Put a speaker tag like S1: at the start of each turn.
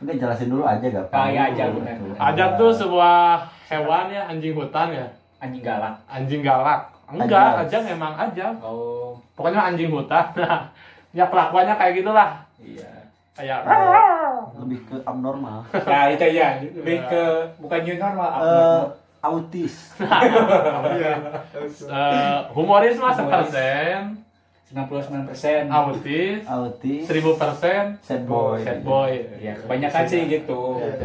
S1: Udah jelasin dulu aja gitu. gak?
S2: Kayak aja Ah, iya, benar.
S3: Ajak tuh sebuah hewan ya, anjing hutan ya,
S2: Anjing galak.
S3: anjing galak. Enggak,
S1: Ajak.
S3: ajak memang ajak.
S2: Oh,
S3: Pokoknya anjing hutan. Nah, ya kelakuannya kayak gitulah.
S2: iya.
S3: Kayak
S1: Lebih ke abnormal.
S2: Nah, itu ya, lebih ke bukan new normal,
S1: Eh,
S2: abnormal.
S1: autis.
S3: eh, humoris mah sepersen,
S2: 99%.
S3: autis,
S1: Autis.
S3: seribu persen,
S1: Sad boy.
S3: sad boy.
S2: Ya, kebanyakan Ya, sih gitu.